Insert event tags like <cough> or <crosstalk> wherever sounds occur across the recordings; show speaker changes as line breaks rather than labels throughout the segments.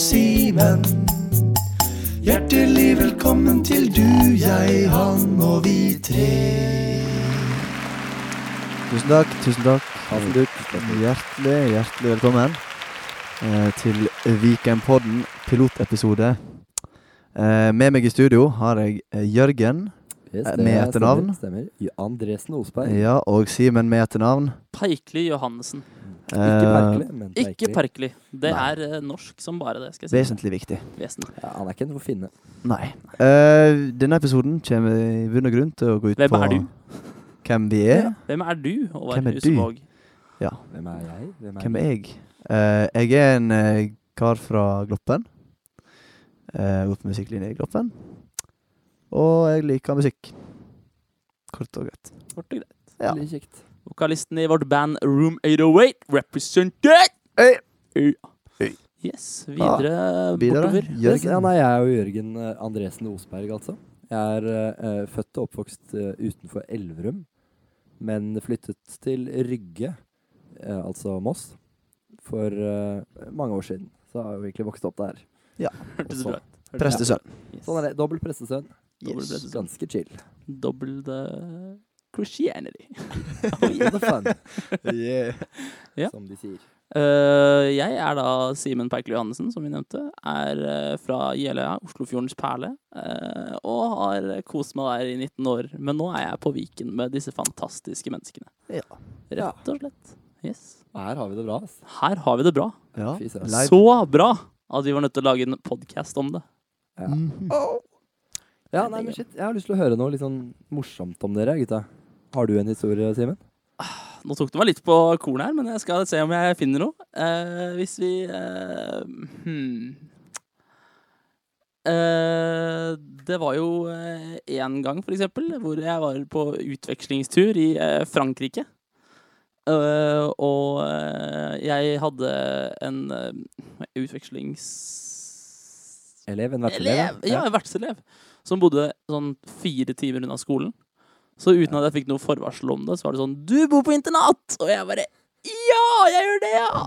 timen. Hjertelig velkommen til du, jeg, han og vi tre.
Tusen takk, tusen takk. Hafenduk, hjertelig, hjertelig velkommen eh, til Vikenpodden pilotepisode. Eh, Med meg i studio har jeg eh, Jørgen
Yes,
Eh, med
er-
etternavn?
Stemmer. stemmer. Andresen Osberg.
ja, og Simen med etternavn.
Peikli Johannessen.
Ikke
Eh,
Perkele, men
Ikke
Perkele.
Perkli. Det er eh, norsk som bare det. skal jeg si.
Eh, Vesentlig viktig.
Vesentlig.
Ja, han er ikke noe finne.
Nei. Eh, Denne episoden kommer i bunn og grunn til å gå ut
Hvem
på
er du?
Hvem vi er.
Hvem er du, og hva
Hvem
er
er
du
du?
som våg?
Hvem er jeg? Hvem er,
Hvem
du?
er jeg? Eh, jeg er en eh, kar fra Gloppen. Eh, går på musikklinje i Gloppen. Og jeg liker musikk. Kort og greit.
Kort og greit.
Ja.
Veldig kjekt.
Vokalisten i vårt band Room 808 represented!
Hey!
Ja.
Hey.
Yes. Videre
Videre.
bortover.
Yes,
Jørgen.
ja, nei, jeg er jo Jørgen eh, Andresen Osberg, altså. Jeg er eh, eh, født og oppvokst eh, utenfor Elverum, men flyttet til Rygge, eh, altså Moss, for eh, mange år siden. Så har jeg jo egentlig vokst opp der.
Hørtes bra ut. Hørtes-
Prestesønn.
Yes.
Sånn er det. Dobbel prestesønn.
Dobbel
Yes.
prestesønn.
Ganske
<laughs>
chill.
Double the Christianity.
Oh, yeah, the fun,
Yeah.
Ja.
som de sier.
Eh, jeg er da Simen Perkli Johannessen, som vi nevnte. Er eh, fra Jeløya, Oslofjordens perle. eh, og har kost meg der i 19 år. Men nå er jeg på Viken med disse fantastiske menneskene.
Ja.
Rett og slett. Yes.
Her har vi det bra, ass.
Her har vi det bra.
ja.
Fy søren.
Live.
Så bra at vi var nødt til å lage en podkast om det.
Mhm.
Ja, nei, men shit, Jeg har lyst til å høre noe litt sånn morsomt om dere, gutta. Har du en historie, Simen?
Nå tok du meg litt på kornet her, men jeg skal se om jeg finner noe. Eh, hvis vi eh, hmm. Eh, det var jo én gang, for eksempel, hvor jeg var på utvekslingstur i eh, Frankrike. Eh, og eh, jeg hadde en eh, utvekslings...
Elev? En
Elev,
vertselev?
ja, en vertselev. Som bodde sånn fire timer unna skolen. Så uten at jeg fikk noe forvarsel om det, så var det sånn 'Du bor på internat!' Og jeg bare 'Ja, jeg gjør det, ja!'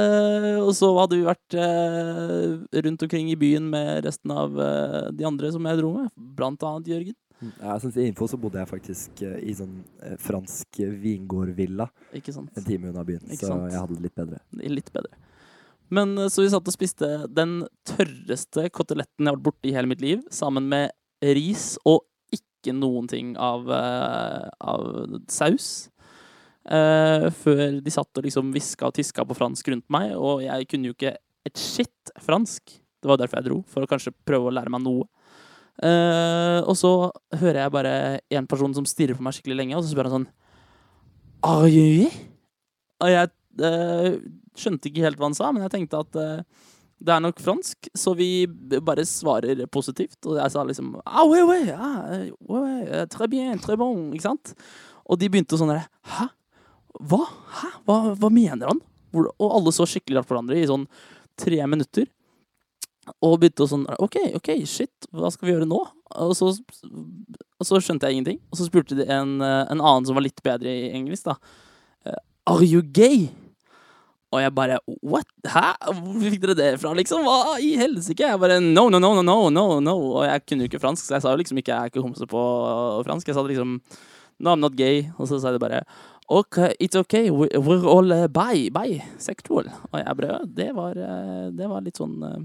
Eh, og så hadde vi vært eh, rundt omkring i byen med resten av eh, de andre som jeg dro med, blant annet Jørgen.
Mm, Ja, som til info så bodde jeg faktisk eh, i sånn eh, fransk vingårdvilla
Ikke sant?
en time unna byen,
Ikke
så
sant.
jeg hadde det litt
<laughs>
bedre.
Litt bedre. Men eh, så vi satt og spiste den tørreste koteletten jeg har vært borti i hele mitt liv, sammen med ris og ikke noen ting av, eh, av saus. Eh, før de satt og liksom hviska og tiska på fransk rundt meg, og jeg kunne jo ikke et shit fransk. Det var derfor jeg dro, for å kanskje prøve å lære meg noe. Eh, og så hører jeg bare en person som stirrer på meg skikkelig lenge, og så spør han sånn Are you here?» Og jeg eh, skjønte ikke helt hva han sa, men jeg tenkte at eh, det er nok fransk, så vi b- bare svarer positivt. Og jeg sa liksom ah, oui, oui, ah, eh, oui, oui, eh, très bien, très bon, ikke sant? Og de begynte sånn der, Hæ? Hva? Hæ? Hva, hva mener han? Hvor, og alle så skikkelig rart på hverandre i sånn tre minutter. Og begynte å sånn OK, OK, shit, hva skal vi gjøre nå? Og så, og så skjønte jeg ingenting. Og så spurte de en, eh, en annen som var litt bedre i engelsk, da. eh, Are you gay? Og jeg bare What? Hæ? Hvor fikk dere det fra, liksom? Hva i helsike? Jeg bare No, no, no, no, no, no, no. Og jeg kunne jo ikke fransk, så jeg sa jo liksom ikke jeg er ikke homse på fransk. Jeg sa det liksom No, I'm not gay. Og så sa de bare OK, it's OK, we- we're all eh, bi, bi, sexual. Og jeg bare «Ja, Det var, eh, det var litt sånn eh,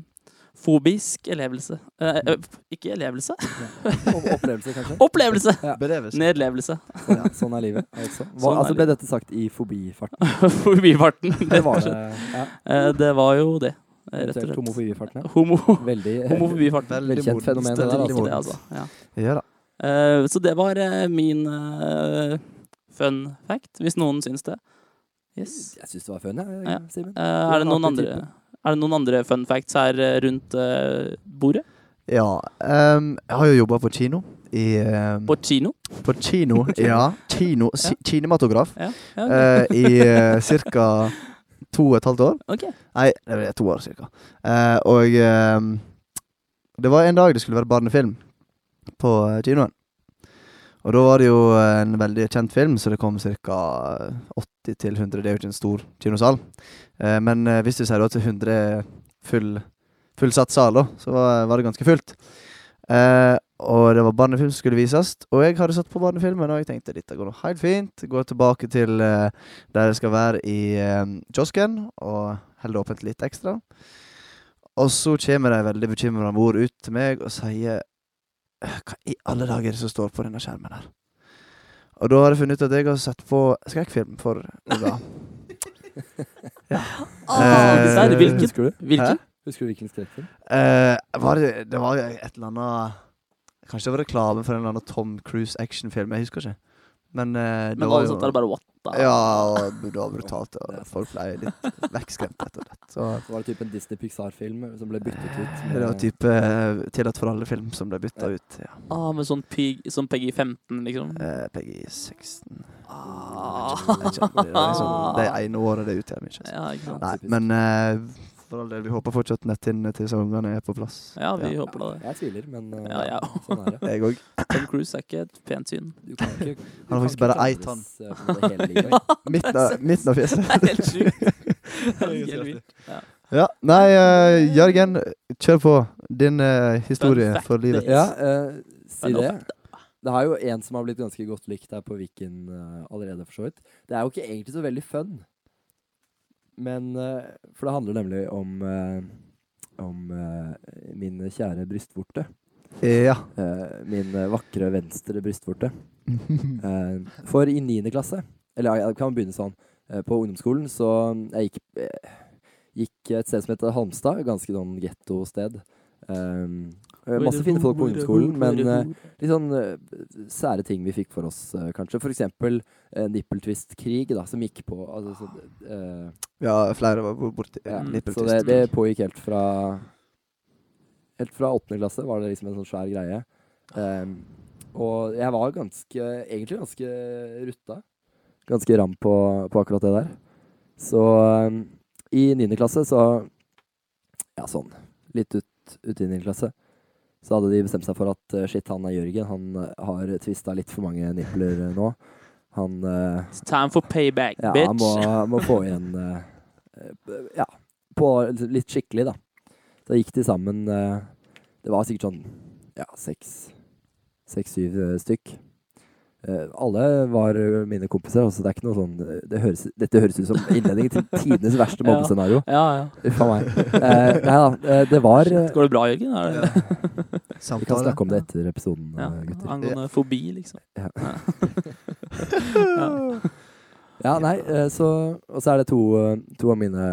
fobisk elevelse. Eh, eh, ikke elevelse. <laughs>
Om opplevelser, kanskje?
Opplevelse!
Bedrevelse.
Nedlevelse. <laughs>
Sånn, ja, sånn er livet. Altså. Hva,
Sånn er
altså ble dette sagt i
<laughs>
fobifarten?
Forbifarten.
Det var det. Ja,
Eh, det var jo det, eh, rett og
eventuelt
slett.
homofobifarten,
<laughs>
ja.
Homo.
<laughs> Veldig
Homofobifarten.
Veldig
Velkjent
modent.
fenomen, det der,
Veldig
Det,
altså.
modent.
altså. Ja.
Ja da.
Eh, så det var eh, min eh, fun fact, hvis noen syns det. Yes.
Jeg syns det var fun, jeg,
Ja.
Simen.
Eh, er,
Du
det
er
noen
alltid
andre, er det noen andre fun facts her eh, rundt eh, bordet?
Ja. ehm, jeg har jo jobba på kino. I, ehm,
På kino?
på kino, <laughs> ja. Kino, si, Kinematograf.
Ja. ja ok.
eh, I uh, ca. to og et halvt år.
ok.
Nei, det er to år cirka. Eh, og ehm, det var en dag det skulle være barnefilm på eh, kinoen. Og da var det jo eh, en veldig kjent film, så det kom ca. eh, 80-100. Det er jo ikke en stor kinosal. Eh, men eh, hvis du sier da til 100 full fullsatt sal, da, så var, var det ganske fullt. Eh, og det var barnefilm som skulle vises, og jeg hadde satt på barnefilmen, og jeg tenkte dette går nå helt fint. Går tilbake til eh, der jeg skal være i eh, kiosken, og holder åpent litt ekstra. Og så kommer de veldig bekymra mor ut til meg og sier «Øh, Hva i alle dager er det som står på denne skjermen her? Og da har jeg funnet ut at jeg har sett på skrekkfilm for
<laughs>
Oda.
Ah,
<laughs>
Eh,
dessverre, hvilken?
Husker du?
Hvilken?
Husker du hvilken skrekkfilm?
Eh, var det, det var jo et eller annet Kanskje det var reklame for en eller annen Tom Cruise actionfilm. Jeg husker ikke. Men, eh, det
Men
var
alle
jo-
sånt er det bare what da?
Ja, og det var brutalt. Og folk ble litt vekkskremt, rett og slett. Så
Så var det typ en Disney Pixar-film som ble byttet ut.
det var type eh, tillatt for alle-film som ble bytta ut. Ja.
Ah, med sånn, pig, sånn Peggy 15, liksom.
Eh, PG 16
Ah. <laughs>
Jeg kjenner på det. Det er sånn- Det ene året det utgjør mye.
Ja, ikke sant.
Nei, men eh, for all del, vi håper fortsatt netthinnene til ungene er på plass.
Ja, vi
Ja.
håper da det.
Jeg tviler, men eh,
Ja, ja.
<laughs> sånn er det.
Jeg
<laughs>
òg.
Tom Cruise er ikke et pent syn.
Du kan ikke,
har
du kan
faktisk
ikke
bare ei
klandres, eh, for det hele
<laughs>
livet.
Midten av- midten av fjeset.
Det er helt sjukt. Det er helt vilt.
<laughs> Ja, nei, eh, Jørgen, kjør på din eh, historie
Fun fact,
for livet.
det-
Ja, eh, si
Det er
det. Det er jo en som har blitt ganske godt likt her på Viken eh, allerede, for så vidt. Det er jo ikke egentlig så veldig fun. Men eh, For det handler nemlig om eh, om eh, min kjære brystvorte.
Ja. <laughs>
Eh, min eh, vakre venstre brystvorte. Eh, for i niende klasse, eller jeg kan begynne sånn, eh, på ungdomsskolen så mm, jeg gikk, eh, gikk et sted som heter Halmstad, ganske sånn ghetto-sted. Eh, eh, masse fine folk på ungdomsskolen, men eh, litt sånn eh, sære ting vi fikk for oss, eh, kanskje. For eksempel eh, nippeltvist-krig, da, som gikk på altså, så, eh,
ja, flere var bor- borti ja,
ja,
nippeltvist.
Mm, Så det, det pågikk helt fra Helt fra åttende klasse var det liksom en sånn svær greie. Ehm, og jeg var ganske egentlig ganske rutta. Ganske ram på, på akkurat det der. Så ehm, i niende klasse så Ja, sånn litt ut, ut i niende klasse. Så hadde de bestemt seg for at eh, shit, han er Jørgen. Han eh, har tvista litt for mange nipler eh, nå. Han eh,
It's time for payback,
ja,
bitch.
han må, han må få igjen
<laughs>
eh, eh, Ja, på litt skikkelig, da. Da gikk de sammen eh, Det var sikkert sånn ja, seks Seks-syv eh, stykk. Eh, alle var eh, mine kompiser, altså det er ikke noe sånn eh, det høres, Dette høres ut som innledning til tidenes verste
<laughs> Ja.
mobbescenario.
Ja, ja.
Uff a meg.
<laughs>
Eh, nei da, eh, det var eh,
Går det bra, Jørgen? Er det?
<laughs> Vi kan snakke om det etter episoden,
Ja.
eh, gutter.
Angående fobi, liksom.
<laughs> Ja, nei, eh, så, og så er det to, eh, to av mine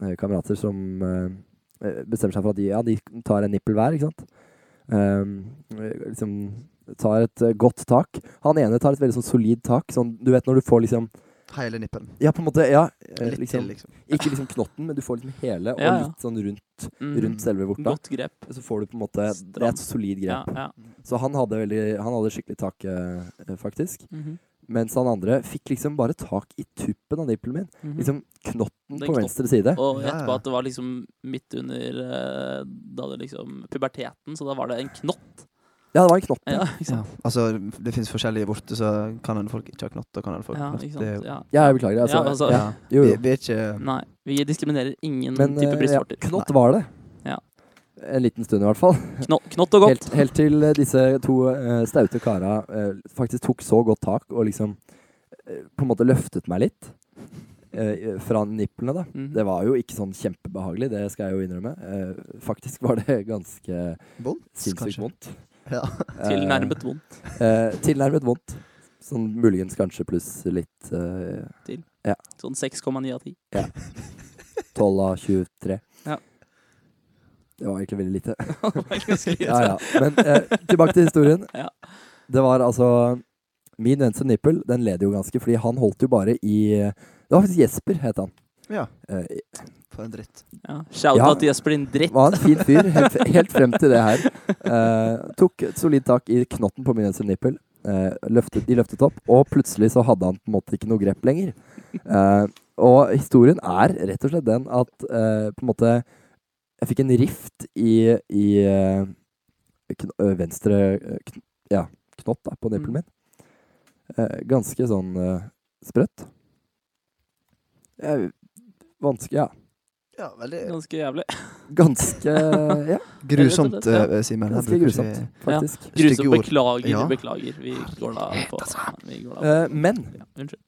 eh, kamerater som eh, eh, bestemmer seg for at de, ja, de tar en nippel hver, ikke sant? Eh, liksom tar et eh, godt tak. Han ene tar et veldig sånn solid tak, sånn, du vet når du får liksom,
Hele nippelen.
ja på en måte, ja, eh,
Litt
liksom,
til, liksom.
ikke liksom knotten, men du får liksom hele, og
Ja, ja.
litt sånn rundt,
Mm.
rundt selve vorta.
Godt grep.
Så får du på en måte, det er et solid
Ja,
grep.
ja.
Så han hadde, veldig, han hadde skikkelig tak, eh, eh, faktisk.
Mhm,
Mens han andre fikk liksom bare tak i tuppen av nippelen min.
mhm.
Liksom knotten
Den
på
knotten.
venstre side.
Og
Ja,
gjett på
ja.
at det var liksom midt under eh, da det liksom puberteten, så da var det en knott.
Ja, det var en knopp. Ja.
Ja, ikke sant?
Altså, det fins forskjellige borte, så kan hende folk ikke ha knott, og kan hende folk
Ja,
ha knott.
ikke
Det er jo-
sant? Ja.
Ja, jeg beklager. Altså,
Ja, altså,
ja. Jo,
Vi,
jo.
vi er ikke
Nei, vi diskriminerer ingen
Men
type
eh, ja,
brystvorter.
knott var det.
Ja.
En liten stund, i hvert fall.
Knott, knott og godt.
Helt, helt til eh, disse to eh, staute kara eh, faktisk tok så godt tak og liksom eh, på en måte løftet meg litt. eh, fra nipplene, da.
Mhm.
Det var jo ikke sånn kjempebehagelig, det skal jeg jo innrømme. Eh, faktisk var det ganske
vondt,
sinnssykt
kanskje.
vondt.
Ja.
Eh,
Tilnærmet vondt.
eh, tilnærmet vondt. Sånn muligens kanskje pluss litt eh,
Sånn 6,9 av 10.
12 av 23.
Ja.
Det var egentlig veldig
<laughs>
lite.
Det var ganske lite.
<laughs> Ja, ja. Men eh, tilbake til historien.
Ja.
Det var altså Min venstre nippel, den led jo ganske, fordi han holdt jo bare i Det var faktisk Jesper, het han.
Ja.
Eh,
For en dritt.
Ja. Shout
Ja.
out til Jesper, din dritt.
var en fin fyr helt, helt frem til det her. Eh, tok et solid tak i knotten på min venstre nippel. Eh, løftet, de løftet opp, og plutselig så hadde han på en måte ikke noe grep lenger. Eh, og historien er rett og slett den at eh, på en måte Jeg fikk en rift i, i eh, kn ø, venstre eh, kn ja, knott da, på nippelen min. Eh, ganske sånn eh, sprøtt. Eh, vanskelig, ja.
Ja, veldig
Ganske jævlig.
Ganske ja,
grusomt,
Ja.
eh, Simen. Her
ganske
bruker vi-
grusomt, faktisk.
Stygge
Grusomt.
ord.
Beklager,
Ja. altså.
beklager. Vi går da på vi går da.
Eh, men
Ja, Unnskyld.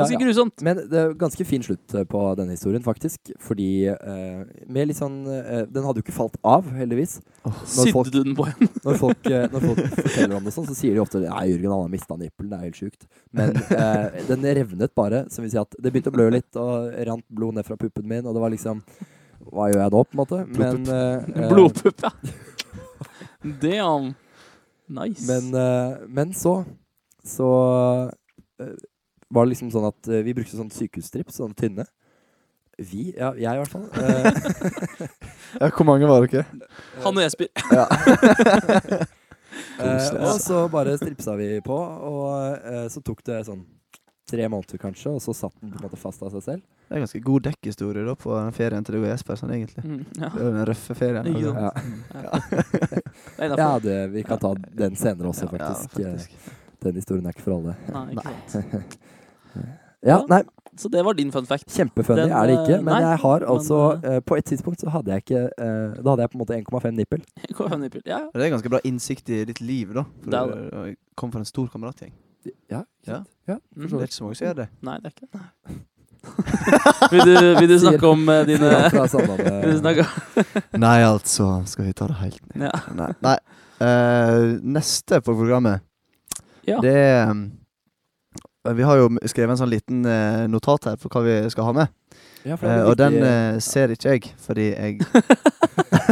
ja,
Ganske
ja.
grusomt.
Men det er ganske fin slutt eh, på denne historien, faktisk. Fordi eh, med litt sånn eh, Den hadde jo ikke falt av, heldigvis. Når folk-
Sydde du den på en?
Når folk, eh, når
<laughs>
folk forteller om det sånn, så sier de ofte Nei, Jørgen, han har mista nippelen. Det er helt sjukt. Men eh, den revnet bare. Som vil si at det begynte å blø litt, og rant blod ned fra puppen min, og det var liksom Hva gjør jeg nå, på en måte? Men,
<laughs>
eh, eh,
Blodpupp, ja. Damn. Nice.
Men, eh, men så Så eh, var det liksom sånn at eh, vi brukte sånn sykehusstrips, sånn tynne. Vi? Ja, jeg i hvert fall. <laughs> Eh,
Ja, hvor mange var dere?
Han og
<laughs>
Jesper.
eh,
Koselig,
og
altså.
så bare stripsa vi på, og eh, så tok det sånn tre måneder kanskje, og så satt den på en måte fast av seg selv.
Det er ganske god dekkhistorie da på den ferien til deg og Jesper, sånn egentlig.
Mm, ja.
Det er jo den røffe ferien.
Ikke sant?
altså.
Ja,
Det er
ja
innafor.
det, vi kan ta den senere også,
Ja,
faktisk. Eh, Den historien er ikke for alle. <laughs>
Nei, ikke sant.
Ja,
Ja.
nei,
Så det var din fun fact.
kjempefunny
Den,
er det ikke,
eh,
men
nei,
jeg har altså
men,
eh, På et tidspunkt så hadde jeg ikke eh, Da hadde jeg på en måte 1,5 nippel.
Gå henne i pult. Ja, ja.
Det er ganske bra innsikt i ditt liv, da. For
Det er
du eh, kom fra en stor kameratgjeng.
Ja,
ikke sant?
Mm.
Det er ikke så mange som gjør det.
Nei, det er ikke det. vil, du,
<laughs>
vil du snakke om eh, dine
Sier han fra
<laughs> Vil
Sandane.
du snakke
Nei, altså. Skal vi ta det helt
Ja.
Nei. Nei. Eh, neste på programmet,
Ja.
det er eh, Vi har jo skrevet en sånn liten eh, notat her for hva vi skal ha med.
Ja, for det
Eh,
er
og den
viktig-
eh, ser ikke jeg, fordi jeg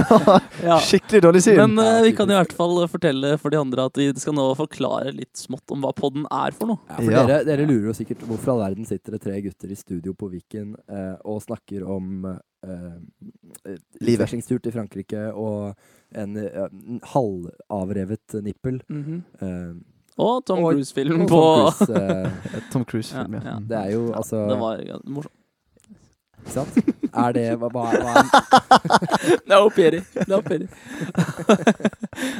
har
Ja.
skikkelig dårlig syn.
Men eh, vi kan i hvert fall fortelle for de andre at vi skal nå forklare litt smått om hva podden er for noe.
ja, for
Ja.
Dere, dere lurer jo sikkert hvorfor all verden sitter det tre gutter i studio på Viken eh, og snakker om eh,
Livet.
utvekslingstur til Frankrike og en eh, en halvavrevet nippel. Eh,
Og Tom
Og-
Cruise-film
og
på
Tom Cruise, eh,
Eh, Tom Cruise-film, ja.
Ja, ja.
det er jo altså
<laughs> Det var ganske morsomt.
Ikke sant? Er det hva, hva, hva
<laughs> Det er au pair i. Det er
<laughs>
au pair i.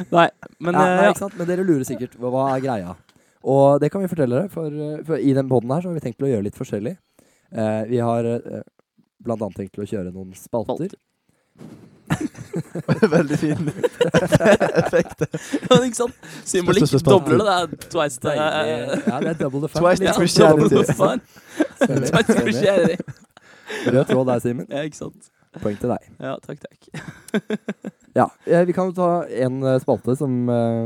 Nei, men
ja,
eh,
nei,
ja.
ikke sant? Men dere lurer sikkert hva, hva er greia. Og det kan vi fortelle dere, for, eh, for i den poden her så har vi tenkt til å gjøre litt forskjellig. Eh, vi har eh, blant annet tenkt til å kjøre noen spalter.
Spalter.
<laughs> Veldig fin effekt.
Ja, <laughs> ikke sant? Symbolikk
Spørs- spørs- spørs-
dobler det. Det er twice the
Deilig. Ja, det er double the fun.
Twice the
<laughs> Ja,
Christianity.
double the fun.
Enig.
Twice the
Enig.
Christianity.
Rød tråd der, Simen.
Ja, ikke sant.
Poeng til deg.
Ja, takk, takk.
Ja, eh, Vi kan jo ta en eh, spalte som eh,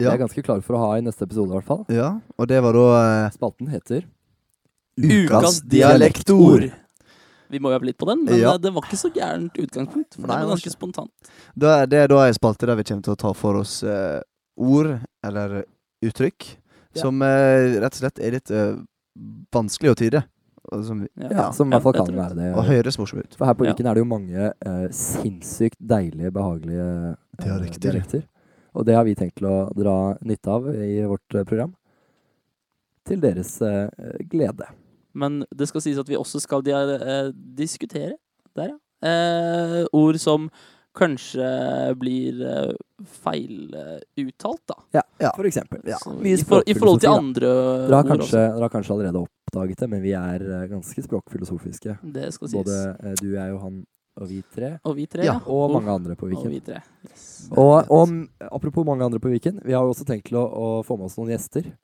vi
Ja.
er ganske klare for å ha i neste episode, i hvert fall.
ja. Og det var da eh,
Spalten heter
Ukas
dialektord.
Vi må jo øve litt på den, men
Ja.
eh, det var ikke så gærent utgangspunkt. For
Nei,
det
det
var
var
ganske spontant.
Da er- Det er da ei spalte der vi kommer til å ta for oss eh, ord, eller uttrykk,
Ja.
som eh, rett og slett er litt eh, vanskelig å tyde. Og, som,
Ja, Som i hvert fall
jeg
kan
tror
være det.
og høres morsom ut.
For her på
Ja.
Viken er det jo mange eh, sinnssykt deilige, behagelige eh,
Dialekter.
Og det har vi tenkt til å dra nytte av i vårt eh, program. Til deres eh, glede.
Men det skal sies at vi også skal dia eh, diskutere Der, ja. Eh, ord som kanskje blir eh, feiluttalt, da.
Ja.
For eksempel.
Så
Mye
i, for, I forhold til
språkfilosofi,
andre
da. Dere har,
ord
kanskje, dere har kanskje allerede oppdaget det, men vi er eh, ganske språkfilosofiske.
også. Det skal sies.
Både eh, du, jeg, Johan og vi tre.
Og vi tre,
Ja,
ja.
Og mange andre på
Og
Viken.
vi tre. Yes.
Og, og m- apropos mange andre på Viken, vi har jo også tenkt til å, å få med oss noen gjester.
Vi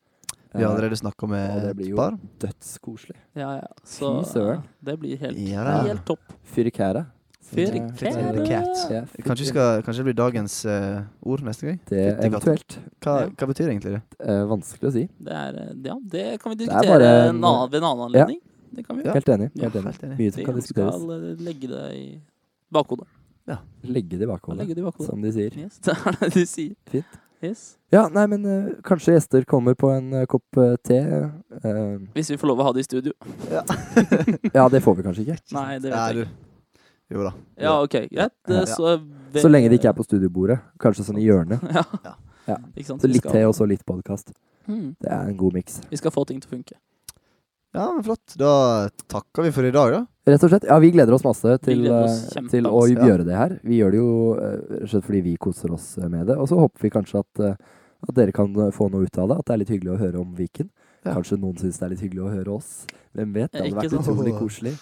har
Eh,
allerede snakka
og
med
det blir
et
jo-
par.
Dødskoselig.
Ja, ja. Så
Fy søren.
det blir helt,
Ja, da.
helt topp.
Fyrikæra.
Fyrikæra.
Fyrikæra. Kanskje, vi skal, kanskje det blir dagens eh, ord neste gang?
Det er eventuelt
Hva,
Ja.
hva betyr egentlig det?
eh, vanskelig å si.
Det, er, eh, ja, det kan vi
er
diskutere
bare
en
en-
annen, ved en annen anledning. Det kan vi gjøre.
Helt enig.
Ja,
Helt enig.
helt enig.
Mye som kan
Vi
diskuteres.
skal eh, legge det i bakhodet.
Legge det i bakhodet,
Legge det i bakhodet.
som de sier.
Yes, <laughs> det er det de sier.
Fint.
Yes.
Ja, nei, men eh, kanskje gjester kommer på en eh, kopp eh, te. eh,
Hvis vi får lov å ha det i studio.
ja, det får vi kanskje
<laughs>
ikke.
Nei, det
Ja,
vet jeg ikke.
du. Jo da.
Ja, ok, greit. Eh,
Ja.
Så,
Så lenge det ikke er på studiobordet. Kanskje sånn i hjørnet.
Ja.
Ja.
Ikke sant?
Så
Vi
litt
skal-
te og så litt podkast.
Hmm.
Det er en god miks.
Vi skal få ting til å funke.
Ja, men flott. Da takker vi for i dag, da.
Rett og slett. Ja, vi gleder oss masse til,
gleder oss
eh,
kjempemasse,
til å
ja.
gjøre det her. Vi gjør det jo eh, rett og slett fordi vi koser oss eh, med det. Og så håper vi kanskje at, eh, at dere kan eh, få noe ut av det. At det er litt hyggelig å høre om Viken.
Ja.
Kanskje noen syns det er litt hyggelig å høre oss. Hvem vet? Det
Eh,
hadde
ikke
vært
sant?
utrolig koselig.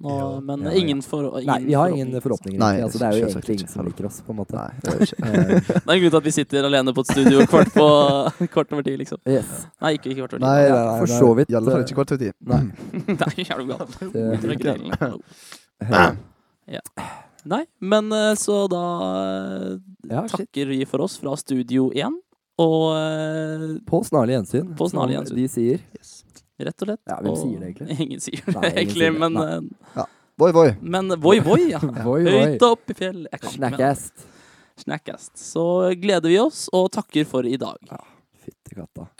Nå,
Ja.
men
Ja, ja.
ingen, for, ingen
Nei, vi har ingen
forhåpninger.
forhåpninger.
Nei,
egentlig. altså, det er jo
selvsagt
egentlig
ikke.
ingen som liker oss, på en måte.
Nei, det gjør vi
<laughs>
ikke.
Eh,
Det er en grunn til at vi sitter alene på et studio kvart på
<laughs>
kvart over ti, liksom. <laughs>
yes.
Nei, ikke, ikke kvart over ti.
Nei, nei, nei,
Ja, for så vidt.
I alle fall ikke kvart over ti.
Nei.
Nei, er du gal.
Det-
Begynte med grillene.
Eh,
Nei, men eh, så da
Ja,
eh,
shit.
takker vi for oss fra studio 1. Og eh,
På snarlig gjensyn.
På snarlig
som
gjensyn.
De sier.
rett og slett
Ja, hvem
og-
sier det egentlig?
<laughs> Ingen sier det
Nei, ingen
egentlig,
sier det.
men,
Nei.
eh,
Voi, voi.
men voi voi, ja.
<laughs> Voi, voi.
Høyt opp i fjellet. Jeg kan ikke med det.
Snackast.
Snackast. Så gleder vi oss, og takker for i dag.
Fytti katta.